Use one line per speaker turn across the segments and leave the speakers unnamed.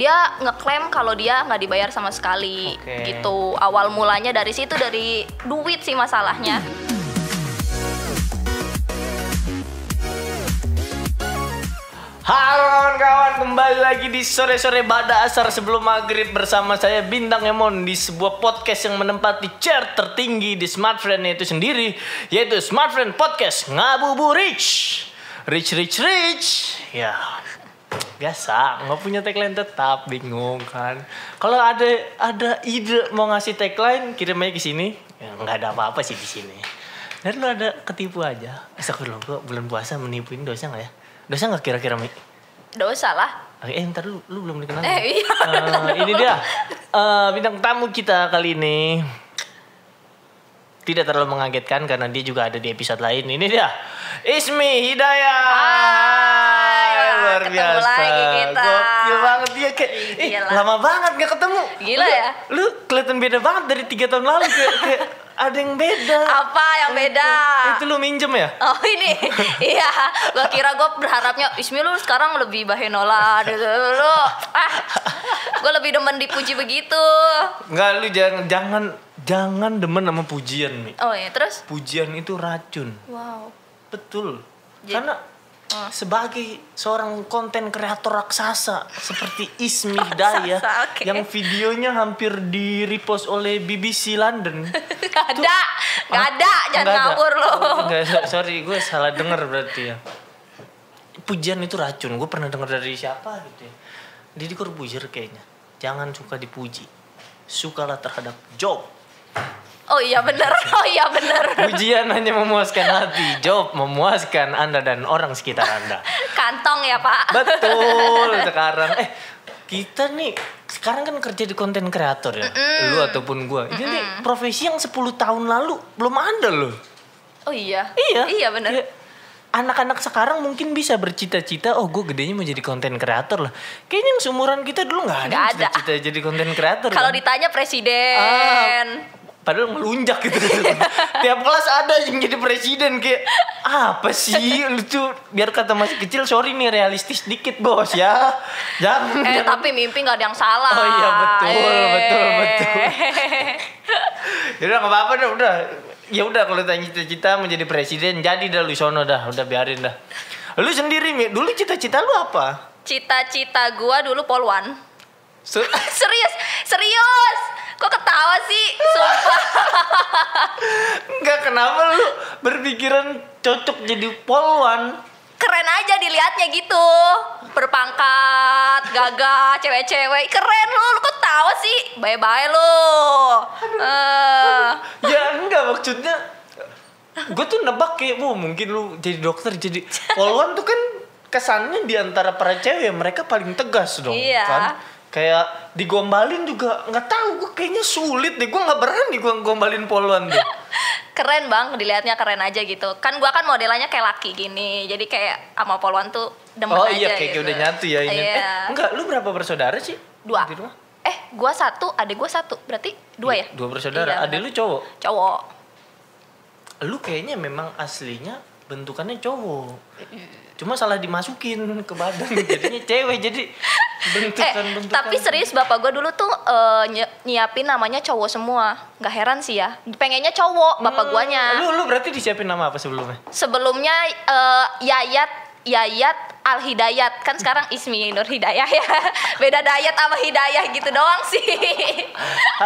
dia ngeklaim kalau dia nggak dibayar sama sekali
Oke.
gitu awal mulanya dari situ dari duit sih masalahnya
Halo kawan-kawan, kembali lagi di sore-sore Bada Asar sebelum maghrib bersama saya Bintang Emon di sebuah podcast yang menempati chair tertinggi di Smartfriend itu sendiri yaitu Smartfriend Podcast Ngabubu Rich Rich Rich Rich Ya biasa nggak punya tagline tetap bingung kan kalau ada ada ide mau ngasih tagline kirim aja ke sini ya, nggak ada apa-apa sih di sini dan lu ada ketipu aja Astagfirullah gua bulan puasa menipu ini dosa nggak ya dosa nggak kira-kira Mi?
dosa lah
Oke, eh, ntar lu, lu belum dikenal.
Eh, iya,
Eh, ini dia. Eh, bintang tamu kita kali ini tidak terlalu mengagetkan karena dia juga ada di episode lain. Ini dia. Ismi Hidayah.
Hai,
Hai, luar
ketemu
biasa.
lagi kita. Iya
Gokil banget dia kayak ih,
Gila.
lama banget gak ketemu.
Gila
Lu-
ya?
Lu kelihatan beda banget dari tiga tahun lalu kayak, kayak ada yang beda.
apa yang beda
Itu lu minjem ya?
Oh ini, iya. Gua kira gue berharapnya Ismi lu sekarang lebih bahenola gitu lu. Ah, gue lebih demen dipuji begitu.
Enggak, lu jangan jangan jangan demen sama pujian, Mi.
Oh iya, terus?
pujian itu racun
Wow.
betul
Jadi- eh.
karena sebagai seorang konten kreator raksasa seperti Ismi Hidayah
Oh, Raksasa, oke.
yang videonya hampir di repost oleh BBC London
Gak ada, gak ada, jangan
Nggak ada.
ngawur lu.
Nggak, so- sorry gue salah denger berarti ya pujian itu racun gue pernah denger dari siapa gitu ya Didi Corbuzier kayaknya jangan suka dipuji sukalah terhadap job
Oh iya bener, oh iya bener.
Pujian hanya memuaskan hati, job memuaskan Anda dan orang sekitar Anda.
Kantong ya pak.
Betul sekarang. Eh, kita nih sekarang kan kerja di konten kreator ya. Lu ataupun gua. Ini nih profesi yang 10 tahun lalu belum ada loh.
Oh iya.
Iya.
Iya bener.
Kayak Anak-anak sekarang mungkin bisa bercita-cita, oh gue gedenya mau jadi konten kreator lah. Kayaknya yang seumuran kita dulu nggak
Nggak
ada, yang
ada.
cita-cita jadi konten kreator.
Kalau
kan?
ditanya
Ah,
presiden.
padahal melunjak gitu. Tiap kelas ada yang jadi presiden kayak apa sih lu tuh biar kata masih kecil sorry nih realistis dikit bos ya. Jangan.
Eh
jangan.
tapi mimpi gak ada yang salah.
Oh iya, betul, betul, betul.
Eh.
Ya udah nggak apa-apa dah udah. Ya udah kalau tanya cita-cita menjadi presiden jadi dah lu sono dah, udah biarin dah. Lu sendiri Mi, dulu cita-cita lu apa?
Cita-cita gua dulu polwan.
Se-
serius, serius. Kok ketawa sih? Sumpah.
Enggak kenapa lu berpikiran cocok jadi polwan?
Keren aja dilihatnya gitu. Berpangkat, gagah, cewek-cewek. Keren lu, lu kok tawa sih? Bye-bye lu. Eh,
ya enggak maksudnya gue tuh nebak kayak mau mungkin lu jadi dokter jadi polwan tuh kan kesannya di antara para cewek mereka paling tegas dong
Iya.
kan kayak digombalin juga nggak tahu gue kayaknya sulit deh gue nggak berani gue gombalin polwan tuh
keren bang, dilihatnya keren aja gitu. Kan gua kan modelannya kayak laki gini. Jadi kayak sama polwan tuh demen
oh
aja
iya kayak, kayak
gitu.
udah nyatu ya ini
Iya.
eh, enggak lu berapa bersaudara sih
Dua.
di rumah
Eh, gua satu, adik gua satu. Berarti dua ya?
dua bersaudara
Iya,
ada
benar.
lu cowok
Cowok.
lu kayaknya memang aslinya bentukannya cowok
Iya.
cuma salah dimasukin ke badan jadinya cewek jadi bentukan
Eh,
kan bentukan
tapi serius bapak gue dulu tuh eh, nye- nyiapin namanya cowok semua. Gak heran sih ya. Pengennya cowok bapak guanya.
Hmm, lu lu berarti disiapin nama apa sebelumnya
Sebelumnya eh, Yayat Yayat Al Hidayat kan sekarang Ismi Nur Hidayah ya. Beda Dayat sama Hidayah gitu doang sih.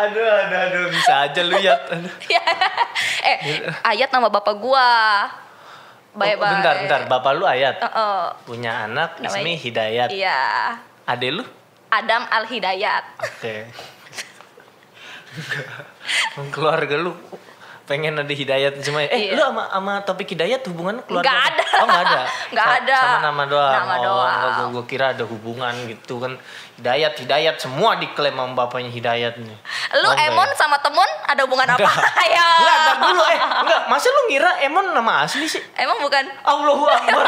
aduh aduh aduh bisa aja lu ya Aduh.
Ya. eh, Ayat nama bapak gua. Bye bye.
Oh, bentar bentar bapak lu ayat
Heeh.
punya anak
Oh. Namanya-
Ismi Hidayat
Iya.
ade lu
Adam Al Hidayat.
oke Enggak. keluarga lu pengen ada hidayat semuanya eh
Iya.
lu sama sama topik hidayat hubungan keluarga
Nggak
apa?
ada.
oh nggak ada
Nggak
Sa-
ada.
sama nama doang
Nama
oh,
doang.
nggak, gua, gua kira ada hubungan gitu kan hidayat hidayat semua diklaim sama bapaknya hidayat nih
Lu
Oh, nggak
Emon
ya?
sama temun ada hubungan apa? ya.
Enggak, entar dulu eh enggak masa lu ngira Emon nama asli sih
Emang bukan?
Allahu Akbar.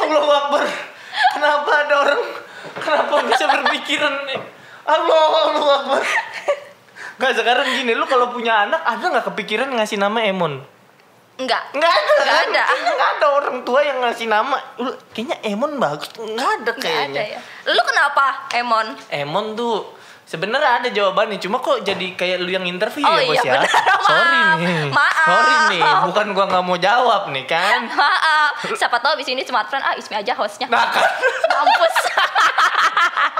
Allahu Akbar. Kenapa ada orang kenapa bisa berpikiran eh, Allah Allahu Akbar. Gak sekarang gini lu kalau punya anak ada nggak kepikiran ngasih nama Emon?
Enggak.
Enggak ada.
Nggak
kan?
ada.
Kayaknya nggak ada orang tua yang ngasih nama. Lu, kayaknya Emon bagus. Enggak ada
Enggak
kayaknya.
ada ya. Lu kenapa, Emon?
Emon tuh sebenarnya ada jawabannya cuma kok jadi kayak lu yang interview
Oh
ya bos
iya,
ya
benar. Maaf.
sorry nih
Maaf.
sorry nih bukan gua nggak mau jawab nih kan
Maaf, siapa tahu abis ini smart friend, ah Ismi aja hostnya.
nah kan
Mampus.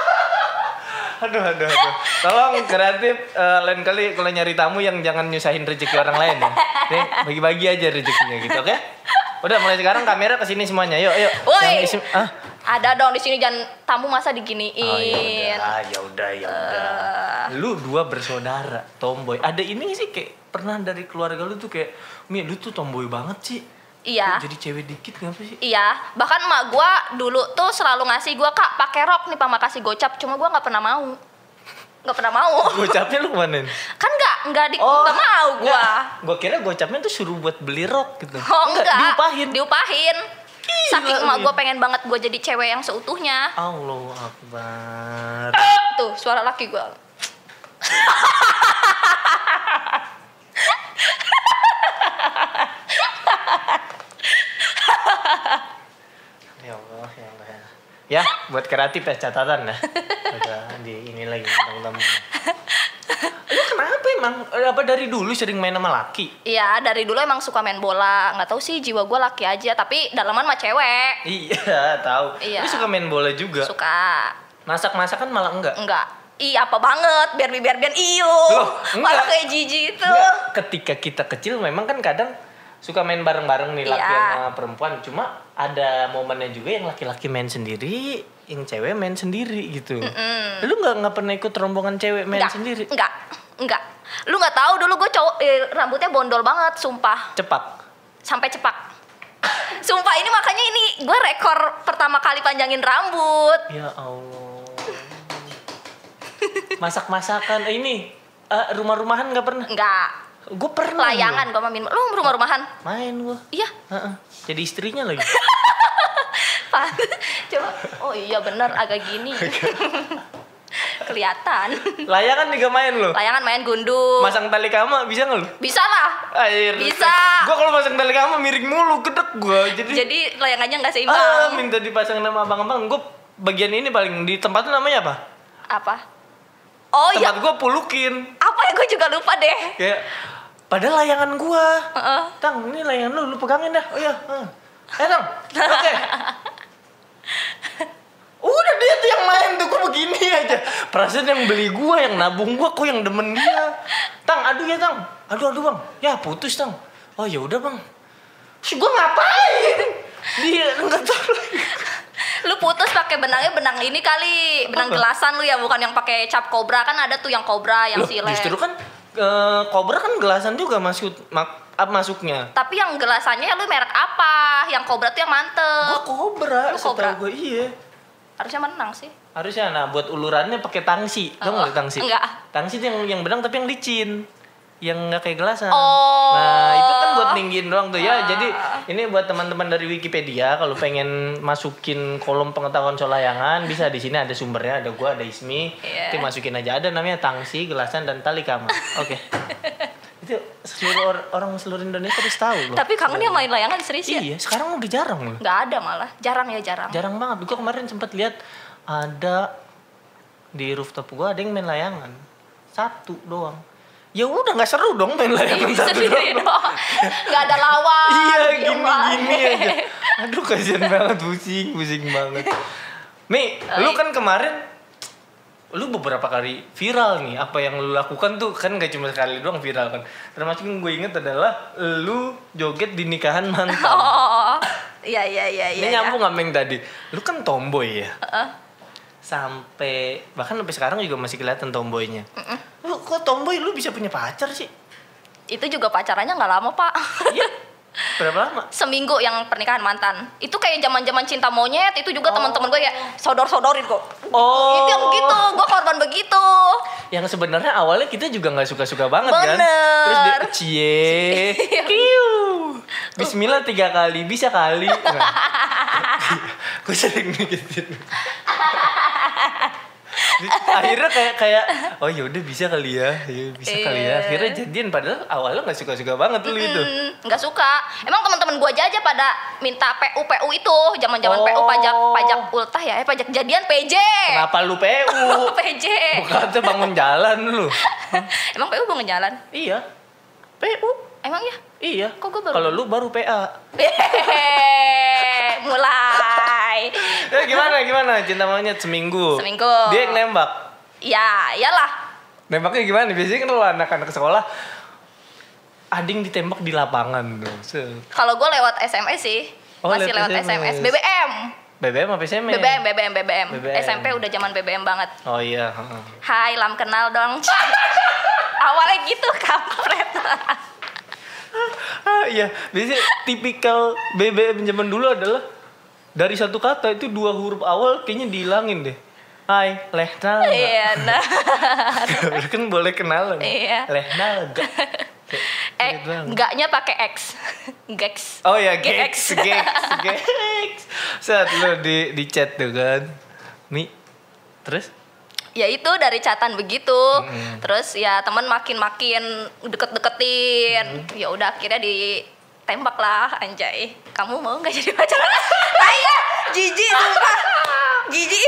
aduh aduh aduh tolong kreatif eh, lain kali kalau nyari tamu yang jangan nyusahin rezeki orang lain ya Nih, bagi-bagi aja rezekinya gitu oke udah mulai sekarang kamera ke sini semuanya yuk yuk Yang
Woi.
isi- ah
Ada dong di sini jangan tamu masa
Oh, ya
diginiin.
udah, ya udah, ya udah.
Eh.
Lu dua bersaudara, tomboy. Ada ini sih kayak pernah dari keluarga lu tuh kayak, Mi, lu tuh tomboy banget sih.
Iya.
Lu jadi cewek dikit ngapa sih?
Iya, bahkan mak gua dulu tuh selalu ngasih gua kak pakai rok nih pak makasih gocap, cuma gua nggak pernah mau, nggak pernah mau,
Gocapnya lu kemanain?
kan nggak nggak di
Oh,
nggak mau gua.
Gue kira gocapnya tuh suruh buat beli rok gitu.
Oh enggak,
diupahin.
diupahin. Saking
lu
mak
ya.
gua pengen banget gua jadi cewek yang seutuhnya.
Allahu Akbar.
Tuh suara laki gua.
ya Allah, ya Allah. ya Allah. Ya, buat kreatif ya catatan ya. Udah di ini lagi tentang Lu kenapa emang? Apa dari dulu sering main sama laki?
Iya, dari dulu emang suka main bola. Nggak tahu sih jiwa gua laki aja, tapi dalaman mah cewek.
Iya, tahu.
Iya.
Lu suka main bola juga.
Suka.
Masak-masakan malah enggak.
Enggak. Ih, apa banget? Biar biar biar iyo.
Loh,
Malah
enggak.
kayak jijik itu.
Enggak. Ketika kita kecil memang kan kadang suka main bareng-bareng nih laki
Iya.
sama perempuan. Cuma ada momennya juga yang laki-laki main sendiri, yang cewek main sendiri gitu. Lu nggak nggak pernah ikut rombongan cewek main
Enggak,
sendiri?
Enggak. Enggak. Lu nggak tahu dulu gue cowok eh, rambutnya bondol banget, sumpah.
Cepak.
Sampai cepak. sumpah ini makanya ini gue rekor pertama kali panjangin rambut.
Ya Allah. Masak-masakan Eh, ini eh, rumah-rumahan nggak pernah.
Enggak.
Gue pernah.
Layangan gue main. Lu rumah-rumahan?
gua. Main gue.
Iya.
Jadi istrinya lagi.
Pak. Coba. Oh iya bener agak gini. Kelihatan.
Layangan juga main loh.
Layangan main gundul.
Masang tali kama bisa nggak lu?
Bisa lah.
Air.
Bisa.
Gue kalau masang tali kama miring mulu, gedek gue. Jadi,
Jadi layangannya nggak
ah,
seimbang.
minta dipasang nama abang-abang. Gue bagian ini paling di tempat lu namanya apa?
Apa? Oh iya.
tempat gue pulukin.
Apa ya gue juga lupa deh.
Kayak padahal layangan gue.
Heeh.
Tang, ini layangan lu, lu pegangin dah. Oh iya. heeh. Eh, Tang. Oke. Udah dia tuh yang main tuh, gue begini aja. Perasaan yang beli gue, yang nabung gue, kok yang demen dia. Tang, aduh ya Tang. Aduh, aduh bang. Ya putus Tang. Oh ya udah bang. Si gue ngapain? Dia nggak tahu.
Lu putus pakai benangnya benang ini kali, benang
Apa?
gelasan lu ya, bukan yang pakai cap kobra kan ada tuh yang kobra, yang
Loh,
silet.
justru kan eh, kobra kan gelasan juga masuk mak- ap- masuknya.
Tapi yang gelasannya lu merek apa? Yang kobra tuh yang
Gue
mantep.
kobra,
Eh. Lu kobra?
Oh, setahu gue iya.
Harusnya menang sih.
Harusnya nah buat ulurannya pakai tangsi. Tau
Oh,
nggak tangsi?
enggak.
Tangsi tuh yang yang benang tapi yang licin. Yang nggak kayak gelasan.
Oh.
Nah, itu kan buat ninggiin doang tuh
Ah.
ya. Jadi ini buat teman-teman dari Wikipedia kalau pengen masukin kolom pengetahuan soal layangan bisa di sini ada sumbernya, ada gua, ada Ismi.
Iya.
Nanti masukin aja ada namanya tangsi, gelasan dan tali kama. Oke. itu seluruh or- orang seluruh Indonesia harus tahu loh.
Tapi kangen yang main layangan serius ya?
Iya, sekarang udah jarang loh
Nggak ada malah. Jarang ya jarang.
jarang banget gue kemarin sempat lihat ada di rooftop gue ada yang main layangan satu doang ya udah nggak seru dong main layangan satu
Sendiri
doang
doang. ya? Nggak ada lawan.
iya
Iya,
gini
Pak.
gini aja aduh kasihan banget pusing pusing banget Mi
Oi.
lu kan kemarin lu beberapa kali viral nih apa yang lu lakukan tuh kan gak cuma sekali doang viral kan termasuk yang gue inget adalah lu joget di nikahan mantan
Oh, iya iya iya iya.
Ini
iya.
nyambung sama yang tadi. Lu kan tomboy ya.
Heeh.
Sampai bahkan sampai sekarang juga masih kelihatan tomboynya. Lu kok tomboy lu bisa punya pacar sih?
Itu juga pacarannya nggak lama pak.
Iya. Berapa lama?
Seminggu yang pernikahan mantan. Itu kayak zaman zaman cinta monyet. Itu juga teman-teman gue ya sodor sodorin kok.
Oh.
Itu yang begitu. Gue korban begitu.
Yang sebenarnya awalnya kita juga nggak suka-suka banget kan?
Bener.
Terus dia cie. Kiu. Bismillah tiga kali, bisa kali. Nah. Gue sering ngikutin. akhirnya kayak kayak oh yaudah bisa kali ya, ya bisa
Iya.
kali ya. Akhirnya jadian padahal awalnya nggak suka-suka banget lu itu.
Hmm, nggak suka. Emang teman-teman gua aja aja pada minta PU PU itu, zaman-zaman PU pajak
Oh.
pajak ultah ya, eh, pajak jadian PJ.
Kenapa lu PU?
PJ.
Bukan tuh bangun jalan lu.
Emang PU bangun jalan?
Iya. PU.
Emang ya?
Iya.
Kok gua baru-
Kalau lu baru PA.
Yeay, mulai.
Ya gimana gimana cinta monyet seminggu.
Seminggu.
Dia yang nembak.
Ya, iyalah.
Nembaknya gimana? Biasanya kan kalau anak-anak sekolah ading ditembak di lapangan tuh. Set.
Kalau gua lewat SMS sih.
Oh,
Masih
lewat
lewat SMS.
SMS.
BBM.
BBM apa SMS?
BBM, BBM, BBM,
BBM.
SMP udah zaman BBM banget.
Oh iya. heeh.
Hai, lam kenal dong. Awalnya gitu kampret.
Ah iya, biasanya tipikal BBM zaman dulu adalah dari satu kata itu dua huruf awal kayaknya dihilangin deh. Hai, lehnal. nggak?
Iya, nah.
kan boleh kenalan.
Iya.
Lehnal gak? Kayak
Eh,
gitu banget.
enggaknya pakai X. Gex.
Oh ya,
Gex.
gex, gex, gex. Saat lu di di chat tuh kan. Mi. Terus?
ya itu dari catatan begitu terus ya teman makin makin deket-deketin ya udah akhirnya ditembak lah anjay kamu mau nggak jadi pacar tai ya jijik sumpah jijik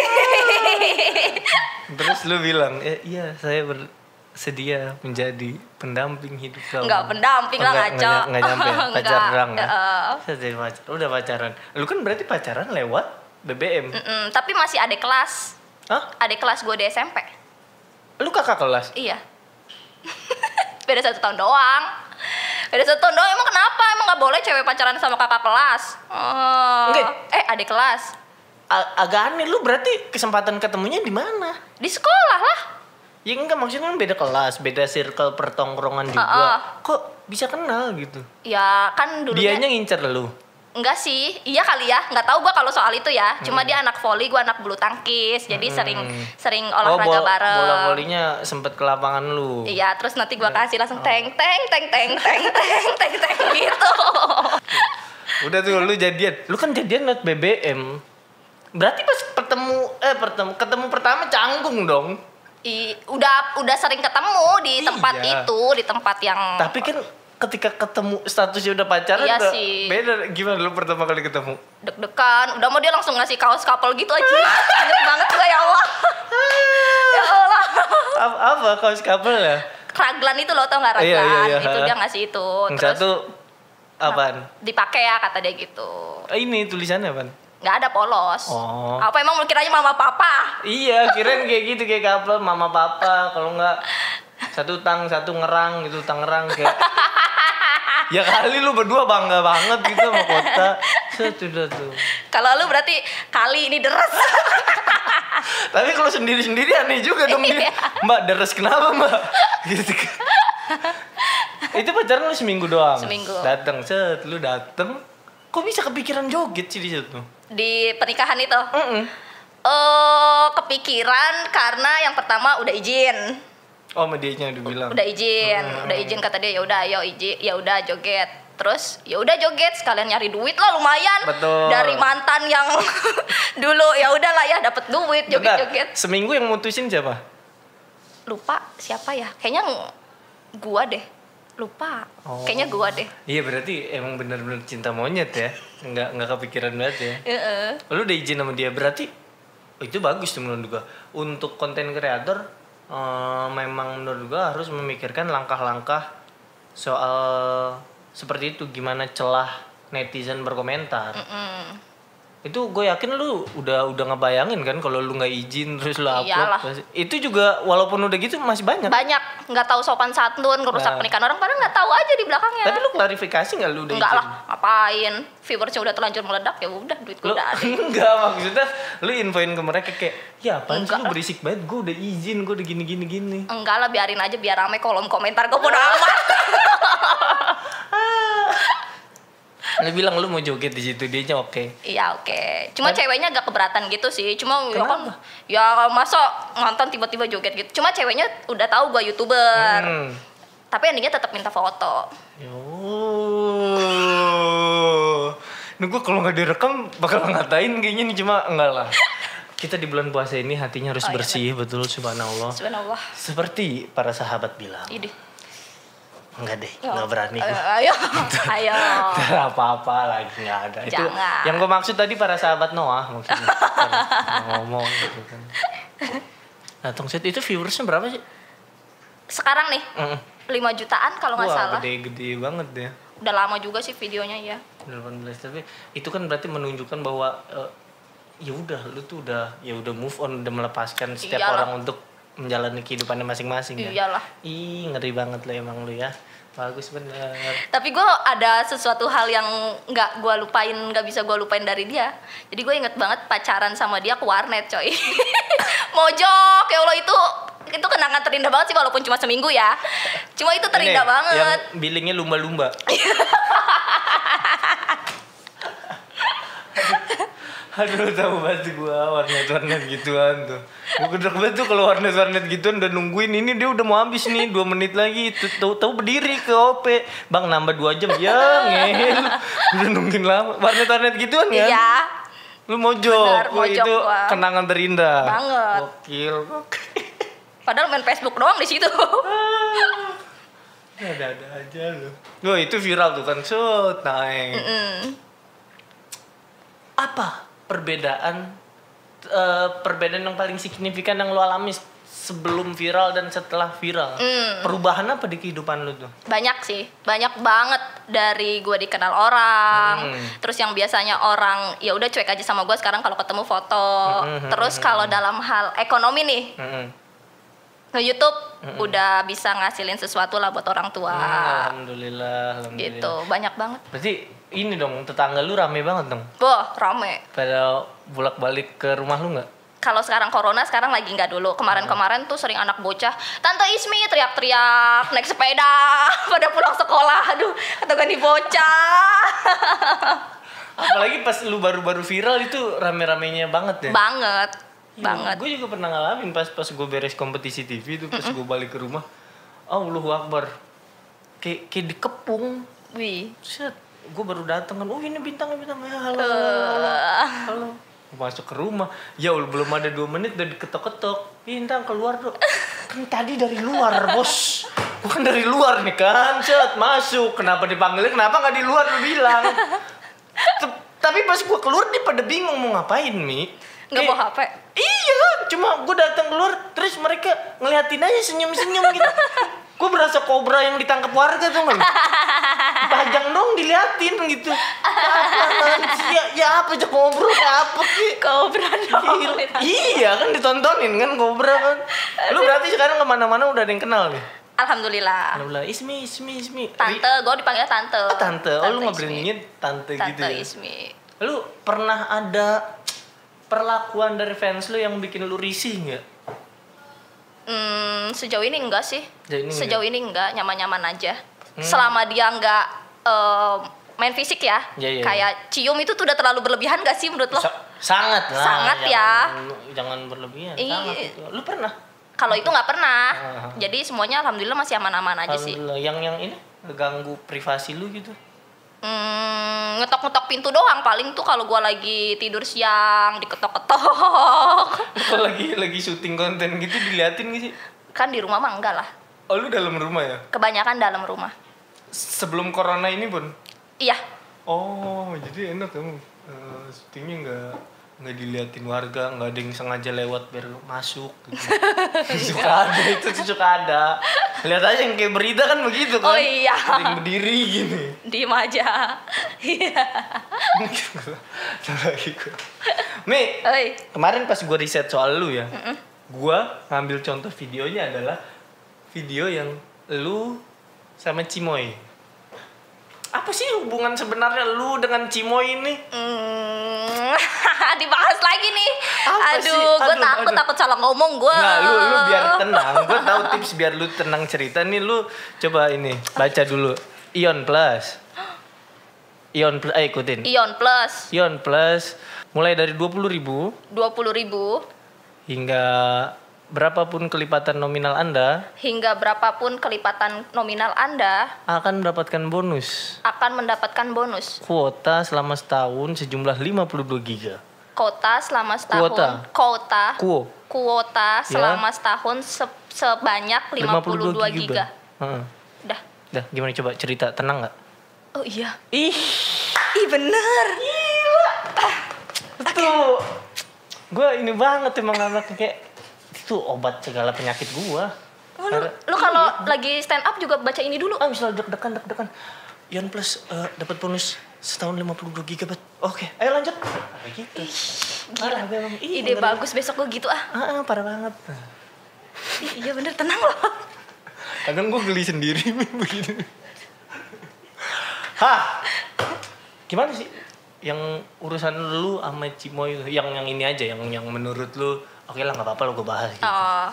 Terus lu bilang, "Eh, iya saya bersedia menjadi pendamping hidup kamu.
Nggak pendamping lah,
Nggak-
ngaco.
nggak- nggak nyampe, ya?
Nggak,
pacar doang ya.
heeh.
Saya jadi pacar, udah pacaran. Lu kan berarti pacaran lewat BBM.
Mm-mm, tapi masih ada kelas
Hah?
ada kelas gue di SMP
Lu kakak kelas?
iya beda satu tahun doang beda satu tahun doang emang kenapa emang nggak boleh cewek pacaran sama kakak kelas Oh.
Nggak.
eh adik kelas
A- agak aneh, lu berarti kesempatan ketemunya di mana?
di sekolah lah
Ya enggak maksudnya kan beda kelas, beda circle pertongkrongan juga.
Heeh.
Kok bisa kenal gitu?
ya kan dulunya
Dianya ngincer lu.
Enggak sih, iya kali ya. Enggak tahu gua kalau soal itu ya. Cuma
Hmm.
dia anak voli, gua anak bulu tangkis. Jadi sering sering olahraga
bola,
bareng.
bola volinya Oh, sempet ke lapangan lu.
Iya, terus nanti gua kasih langsung
Oh.
teng teng teng teng teng teng teng teng gitu.
Udah tuh lu jadian. Lu kan jadian lewat BBM. Berarti pas pertemu eh pertemu ketemu pertama canggung dong.
Hmm. I, udah udah sering ketemu di tempat
Iya.
itu, di tempat yang
Tapi kan ketika ketemu statusnya udah pacaran
Iya
udah
sih.
beda gimana lu pertama kali ketemu?
deg-degan. Udah mau dia langsung ngasih kaos couple gitu aja. Ingat banget gua ya Allah. ya Allah.
Apa, apa kaos couple ya?
Raglan itu loh tau nggak raglan?
Iya, iya, iya.
Itu dia ngasih itu. Oh,
Yang
Terus
satu apaan?
dipakai ya kata dia gitu.
Eh, Ini tulisannya apaan?
nggak ada polos.
Oh.
Apa emang lu kiranya mama papa?
Iya, kirain kayak gitu kayak couple mama papa kalau enggak satu tang satu ngerang gitu tangerang kayak ya kali lu berdua bangga banget gitu sama kota set udah tuh
Kalau lu berarti kali ini deres.
tapi kalau sendiri sendiri aneh juga dong
Iya.
dia mbak deres kenapa mbak gitu kan itu pacaran lu seminggu doang
Seminggu.
datang set lu dateng kok bisa kepikiran joget sih di situ
Di pernikahan itu.
Mm-mm.
Eh kepikiran karena yang pertama udah izin.
oh medianya dibilang
Udah iya, izin, udah izin kata dia ya udah ayo izin, ya udah joget. Terus ya udah joget sekalian nyari duit lah lumayan
Betul.
dari mantan yang dulu ya udah lah ya dapat duit
Bentar,
joget-joget.
seminggu yang mutusin siapa
Lupa siapa ya? Kayaknya ng- gua deh. Lupa.
Oh.
Kayaknya gua deh.
Iya berarti emang bener-bener cinta monyet ya Nggak, nggak kepikiran banget ya
Heeh.
Lu udah izin sama dia berarti Itu bagus tuh menurut gua Untuk konten kreator eh, Memang menurut gua harus memikirkan langkah-langkah Soal seperti itu Gimana celah netizen berkomentar itu gue yakin lu udah udah ngebayangin kan kalau lu nggak izin terus lu upload
Iyalah.
pasti- itu juga walaupun udah gitu masih banyak
banyak nggak tahu sopan santun ngerusak
Nah.
pernikahan orang padahal nggak tahu aja di belakangnya
tapi lu klarifikasi nggak lu udah
enggak
izin
lah ngapain viewersnya udah terlanjur meledak ya udah duit gue
Lu-
udah ada
enggak maksudnya lu infoin ke mereka kayak ya apaan sih
Enggak
lu berisik banget gue udah izin gue udah gini gini gini
enggak lah biarin aja biar rame kolom komentar gue bodo amat
lu bilang lu mau joget di situ dia aja oke
iya oke cuma ceweknya agak keberatan gitu sih cuma ya kan
Kenapa?
ya masa nonton tiba-tiba joget gitu cuma ceweknya udah tahu gue youtuber
hmm. Ya
tapi endingnya tetap minta foto
yo ini gue kalau nggak direkam bakal ngatain kayaknya ini cuma enggak lah kita di bulan puasa ini hatinya harus
Oh, iya,
bersih betul subhanallah.
Subhanallah.
Seperti para sahabat bilang.
Ini.
Enggak deh, enggak berani.
Ayo, Ya. Eh, ayo. ayo.
Ntar apa-apa lagi nggak ada. Itu
Jangan.
yang gue maksud tadi para sahabat Noah mungkin ngomong gitu kan. Nah, Tong Set, itu viewersnya berapa sih?
Sekarang nih
Mm.
5 jutaan kalau nggak
Wah,
salah.
gede-gede banget ya.
Udah lama juga sih videonya ya.
18 tapi itu kan berarti menunjukkan bahwa eh, ya udah lu tuh udah ya udah move on udah melepaskan setiap
Iyalah. Iya.
orang untuk menjalani kehidupannya masing-masing kan.
Iyalah.
Ih, ngeri banget lo emang lu ya. Bagus bener.
Tapi gue ada sesuatu hal yang nggak gue lupain, nggak bisa gue lupain dari dia. Jadi gue inget banget pacaran sama dia ke warnet, coy. Mojok, ya Allah itu itu kenangan terindah banget sih walaupun cuma seminggu ya. Cuma itu terindah
Ini, kan?
banget.
Yang billingnya lumba-lumba. Aduh tahu banget gua warnet-warnet gituan tuh. Gua gedek banget tuh kalau warnet-warnet gituan udah nungguin ini dia udah mau habis nih 2 menit lagi Tuh, tahu tahu berdiri ke OP. Bang nambah 2 jam ya ngel. Udah nungguin lama. Warnet-warnet gituan kan.
Iya.
Lu mojok.
Benar,
Wah,
mojok
itu
gua.
kenangan terindah.
Banget.
Gokil. gokil.
Padahal main Facebook doang di situ.
Ada-ada aja lu. Loh itu viral tuh kan. Shoot, naik.
Mm.
apa perbedaan eh, perbedaan yang paling signifikan yang lo alami s- sebelum viral dan setelah viral
Hmm.
perubahan apa di kehidupan lo tuh
banyak sih banyak banget dari gue dikenal orang
Hmm.
terus yang biasanya orang ya udah cuek aja sama gue sekarang kalau ketemu foto
Hmm, hmm,
terus kalau dalam hal ekonomi nih
Mm-mm.
ke YouTube udah bisa ngasilin sesuatu lah buat orang tua
alhamdulillah alhamdulillah
Ah. gitu banyak banget
berarti ini dong tetangga lu rame banget dong
boh rame
pada bolak balik ke rumah lu nggak
kalau sekarang corona sekarang lagi nggak dulu
Mm.
kemarin-kemarin tuh sering anak bocah tante Ismi teriak-teriak naik sepeda pada pulang sekolah aduh atau kan di bocah
apalagi pas lu baru baru viral itu rame ramenya banget ya
banget banget
Gue juga pernah ngalamin pas pas gue beres kompetisi TV itu pas gue balik ke rumah, Allahu Akbar. Kayak kayak dikepung.
wih
set gue baru datang kan oh ini bintangnya bintang ya halo halo, halo halo Gua masuk ke rumah ya ul- belum ada dua menit udah diketok-ketok bintang keluar tuh kan tadi dari luar bos Gua kan dari luar nih kan set masuk kenapa dipanggilnya kenapa nggak di luar lu bilang Tep- tapi pas gue keluar dia pada bingung mau ngapain mi Eh,
nggak
Kayak,
bawa HP
Iya, cuma gue datang keluar terus mereka ngeliatin aja senyum-senyum gitu. gue berasa kobra yang ditangkap warga tuh kan. Pajang dong diliatin gitu. Apa, ya, ya apa aja ngobrol kayak apa ki?
kobra dong
Gila. Iya kan ditontonin kan kobra kan. Lu berarti sekarang kemana-mana udah ada yang kenal nih.
alhamdulillah
Lu bilang Ismi, Ismi, Ismi.
Ah. tante gue dipanggil tante
Anu, Oh, tante. Oh lu nggak
Ismi.
beraniin tante,
tante
gitu ya.
Ismi
Lu pernah ada perlakuan dari fans lu yang bikin lu risih nggak?
hmm, sejauh ini enggak sih
Sejauh ini enggak? Hmm.
sejauh ini enggak nyaman-nyaman aja selama dia enggak em, main fisik ya
Iya, iya, iya.
kayak cium itu tuh udah terlalu berlebihan gak sih menurut lo
Sa- sangat lah.
Sangat ya.
Jangan, jangan berlebihan.
Iya.
Sangat itu. Lu pernah?
kalau itu nggak pernah
Aha.
jadi semuanya alhamdulillah masih aman-aman aja sih
Ah, Alhamdulillah. Yang yang ini ganggu privasi lu gitu.
Hmm, ngetok-ngetok pintu doang paling tuh kalau gua lagi tidur siang diketok-ketok.
Lu lagi lagi syuting konten gitu diliatin gak sih?
Kan di rumah mah enggak lah.
Oh lu dalam rumah ya?
Kebanyakan dalam rumah.
Sebelum corona ini pun.
Iya,
Oh jadi enak kamu. Eh, syutingnya nggak nggak diliatin warga nggak ada yang sengaja lewat biar lu masuk gitu.
Iya.
suka ada itu tuh suka ada lihat aja yang kayak berita kan begitu kan
Oh, iya.
Ada yang berdiri gini
diem aja. Iya.
Ntar lagi gua. Mi,
Oi.
kemarin pas gue riset soal lu ya, gua ngambil contoh videonya adalah video yang lu sama Cimoy. Apa sih hubungan sebenarnya lu dengan Cimoy ini?
Hmm, dibahas lagi nih.
Apa
aduh,
sih?
gua
Aduh,
takut
aduh.
takut salah ngomong gua.
Nah, lu lu biar
Oh.
tenang. Gue tahu tips biar lu tenang cerita nih. Lu coba ini baca dulu. Ion Plus. Ion Plus, eh, ikutin.
Ion plus
Ion Plus mulai dari 20.000
20.000 ribu
hingga berapapun kelipatan nominal Anda
hingga berapapun kelipatan nominal Anda
akan mendapatkan bonus
akan mendapatkan bonus.
kuota selama setahun sejumlah 52 giga.
kota selama setahun
Kuota.
Kota.
Kuo.
kuota
Ya.
selama setahun se- sebanyak 52, giga.
Heeh.
Udah.
Dah, gimana coba cerita? Tenang nggak?
Oh iya.
Ih,
Ih bener. Ah,
tuh. Gue ini banget emang anaknya kayak itu obat segala penyakit gua.
Oh, lu,
Karena-
lu kalau lagi stand up juga baca ini dulu.
Ah, misalnya deg-degan, deg-degan. Ian Plus eh, dapat bonus setahun 52 GB. Oke, ayo lanjut. Ah, Gitu. Parah gue emang. Ih,
Ide
bener.
bagus besok gue gitu ah.
Ah, ah, parah banget.
Ih, iya bener tenang loh.
Kadang gue geli sendiri begitu. Hah? Gimana sih yang urusan lu sama Cimoy itu? yang yang ini aja yang yang menurut lu oke lah nggak apa-apa lu gue bahas gitu.
Oh.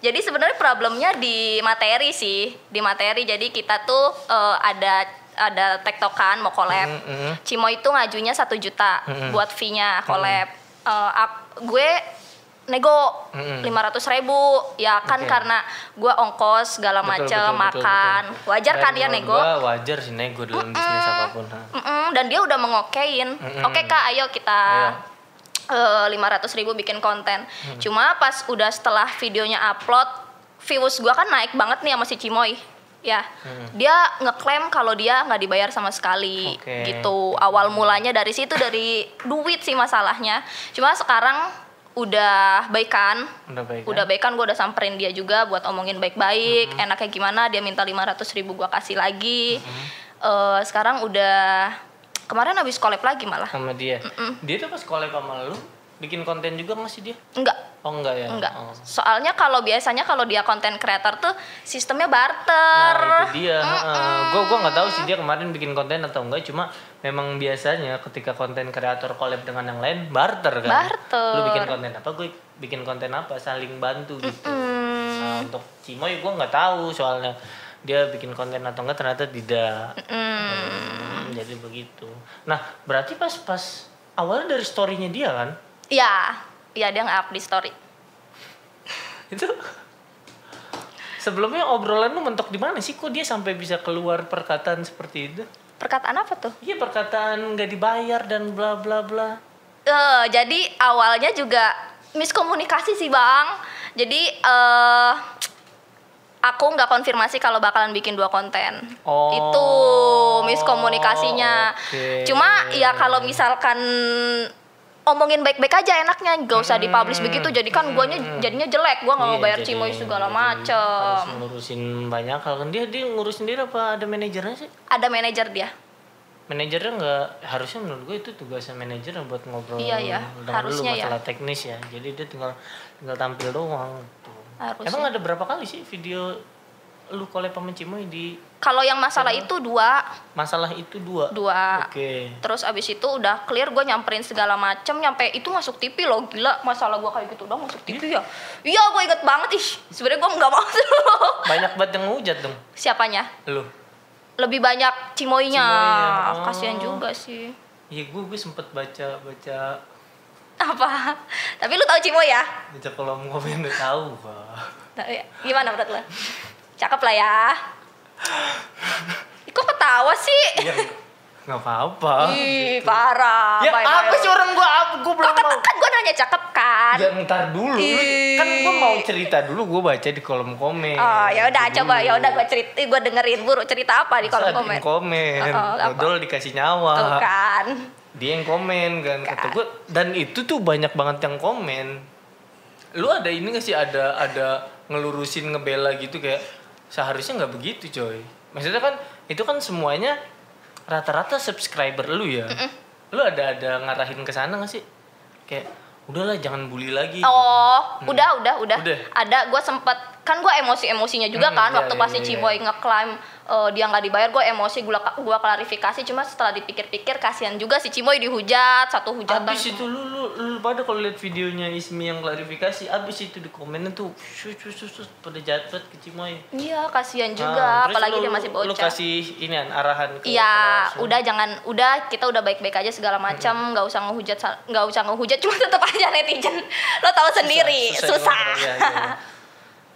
Jadi sebenarnya problemnya di materi sih, di materi. Jadi kita tuh eh, ada ada tektokan mau collab.
Mm, mm.
Cimo itu ngajunya satu juta
Mm-mm.
buat fee-nya collab. Eh, ak- gue nego
Mm-mm.
lima ratus ribu ya kan
Oke.
karena gue ongkos segala
Betul,
macem
betul, betul,
makan
betul.
wajar kan
Dan
dia
menurut
nego
gua wajar sih nego dalam bisnis apapun. ha.
Mm-mm, dan dia udah mengokein
Mm-mm. Iya.
oke kak ayo kita eh, lima ratus ribu bikin konten cuma pas udah setelah videonya upload views gua kan naik banget nih sama si Cimoy ya dia ngeklaim kalau dia nggak dibayar sama sekali
Oke.
gitu awal mulanya dari situ dari duit sih masalahnya cuma sekarang udah kan? baikan
Udah baik.
udah baikan gue udah samperin dia juga buat omongin baik-baik
Mm-hmm.
enaknya gimana dia minta 500.000 ribu gue kasih lagi
Mm-hmm.
Eh, sekarang udah kemarin habis collab lagi malah
sama dia. Dia tuh pas collab sama lu bikin konten juga nggak sih dia?
enggak
Oh enggak ya?
enggak
Oh.
soalnya kalau biasanya kalau dia konten creator tuh sistemnya barter
Nah itu dia. Gue gue nggak tahu sih dia kemarin bikin konten atau enggak. Cuma memang biasanya ketika konten kreator collab dengan yang lain barter kan.
Barter.
Lu bikin konten apa? Gue bikin konten apa? Saling bantu gitu. Nah, untuk Cimoy gue nggak tahu soalnya dia bikin konten atau enggak ternyata tidak. Hmm, jadi begitu. Nah berarti pas pas awalnya dari storynya dia kan
ya ya dia nge-up di story
itu sebelumnya obrolan lu mentok di mana sih kok dia sampai bisa keluar perkataan seperti itu?
perkataan apa tuh
Iya perkataan nggak dibayar dan bla bla bla.
Eh, jadi awalnya juga miskomunikasi sih bang. Jadi eh aku nggak konfirmasi kalau bakalan bikin dua konten.
Oh,
Itu miskomunikasinya.
oke.
Cuma ya kalau misalkan omongin baik-baik aja enaknya nggak usah dipublish begitu jadi kan guanya jadinya jelek gua nggak mau
Hmm. Iya,
bayar
jadi-
cimoy segala
jadi Harus
macem
ngurusin banyak hal kan dia dia ngurus sendiri apa ada manajernya sih?
ada manajer dia
Manajernya nggak harusnya menurut gue itu tugasnya manajer buat ngobrol
Iya, iya.
dengan
Harusnya
lu
ya.
masalah teknis ya. Jadi dia tinggal tinggal tampil doang. Gitu.
Harusnya.
Emang ada berapa kali sih video lu kolek sama Cimoy di
kalau yang masalah itu dua
masalah itu dua?
dua
Oke.
Terus abis itu udah clear gue nyamperin segala macem nyampe itu masuk TV loh gila masalah gue kayak gitu udah masuk TV ya iya gue inget banget ih sebenarnya gue nggak mau
Banyak banget yang ngehujat dong
siapanya
lu.
lebih banyak cimoynya
Cimoynya, oh.
kasihan juga sih
Iya gue gue sempet baca baca
apa tapi lu tahu cimoy ya
baca kolom komen udah tahu pak
Nah, iya. gimana menurut lo cakep lah ya Ih, kok ketawa sih
ya nggak apa-apa
ih parah
ya
Bye-bye.
apa sih orang gua apa gua belum
Kok kata-
mau
kan gue nanya cakep kan
ya ntar dulu
Ih.
kan gua mau cerita dulu gua baca di kolom komen
Oh ya udah
Dulu.
coba ya udah gue cerita gue dengerin buru cerita apa di
Masa
kolom
ada
komen.
yang komen
Oh, oh, apa?
Dodol dikasih
Tuh
nyawa
kan.
dia yang komen kan kata
Kan.
gua dan itu tuh banyak banget yang komen lu ada ini gak sih ada ada ngelurusin ngebela gitu kayak seharusnya nggak begitu coy maksudnya kan itu kan semuanya rata-rata subscriber lu ya lu ada ada ngarahin ke sana gak sih kayak udahlah jangan bully lagi
Oh, udah udah udah.
Iya. Hmm. Udah.
Ada gue sempet kan gue emosi-emosinya juga
Hmm,
kan
iya,
waktu
iya,
pasti
iya,
Ciboy ngeklaim eh, dia nggak dibayar gue emosi gue gua klarifikasi cuma setelah dipikir-pikir kasihan juga si Ciboy dihujat satu hujatan.
abis itu lu lu, lu pada kalau lihat videonya Ismi yang klarifikasi abis itu di komennya tuh sus sus sus, sus, pada jatuh ke Cimoy
Iya kasihan
Ah,
juga
terus
apalagi
lu-
dia masih
Lu
bocah.
kasih ini an, arahan ke
Iya,
followers lu.
udah jangan, udah kita udah baik-baik aja segala
Hmm.
macam, nggak usah ngehujat, sal- nggak usah ngehujat, cuma tetap aja netizen, lo tahu sendiri,
Susah,
susah.
susah dikontrol, ya, ya, ya.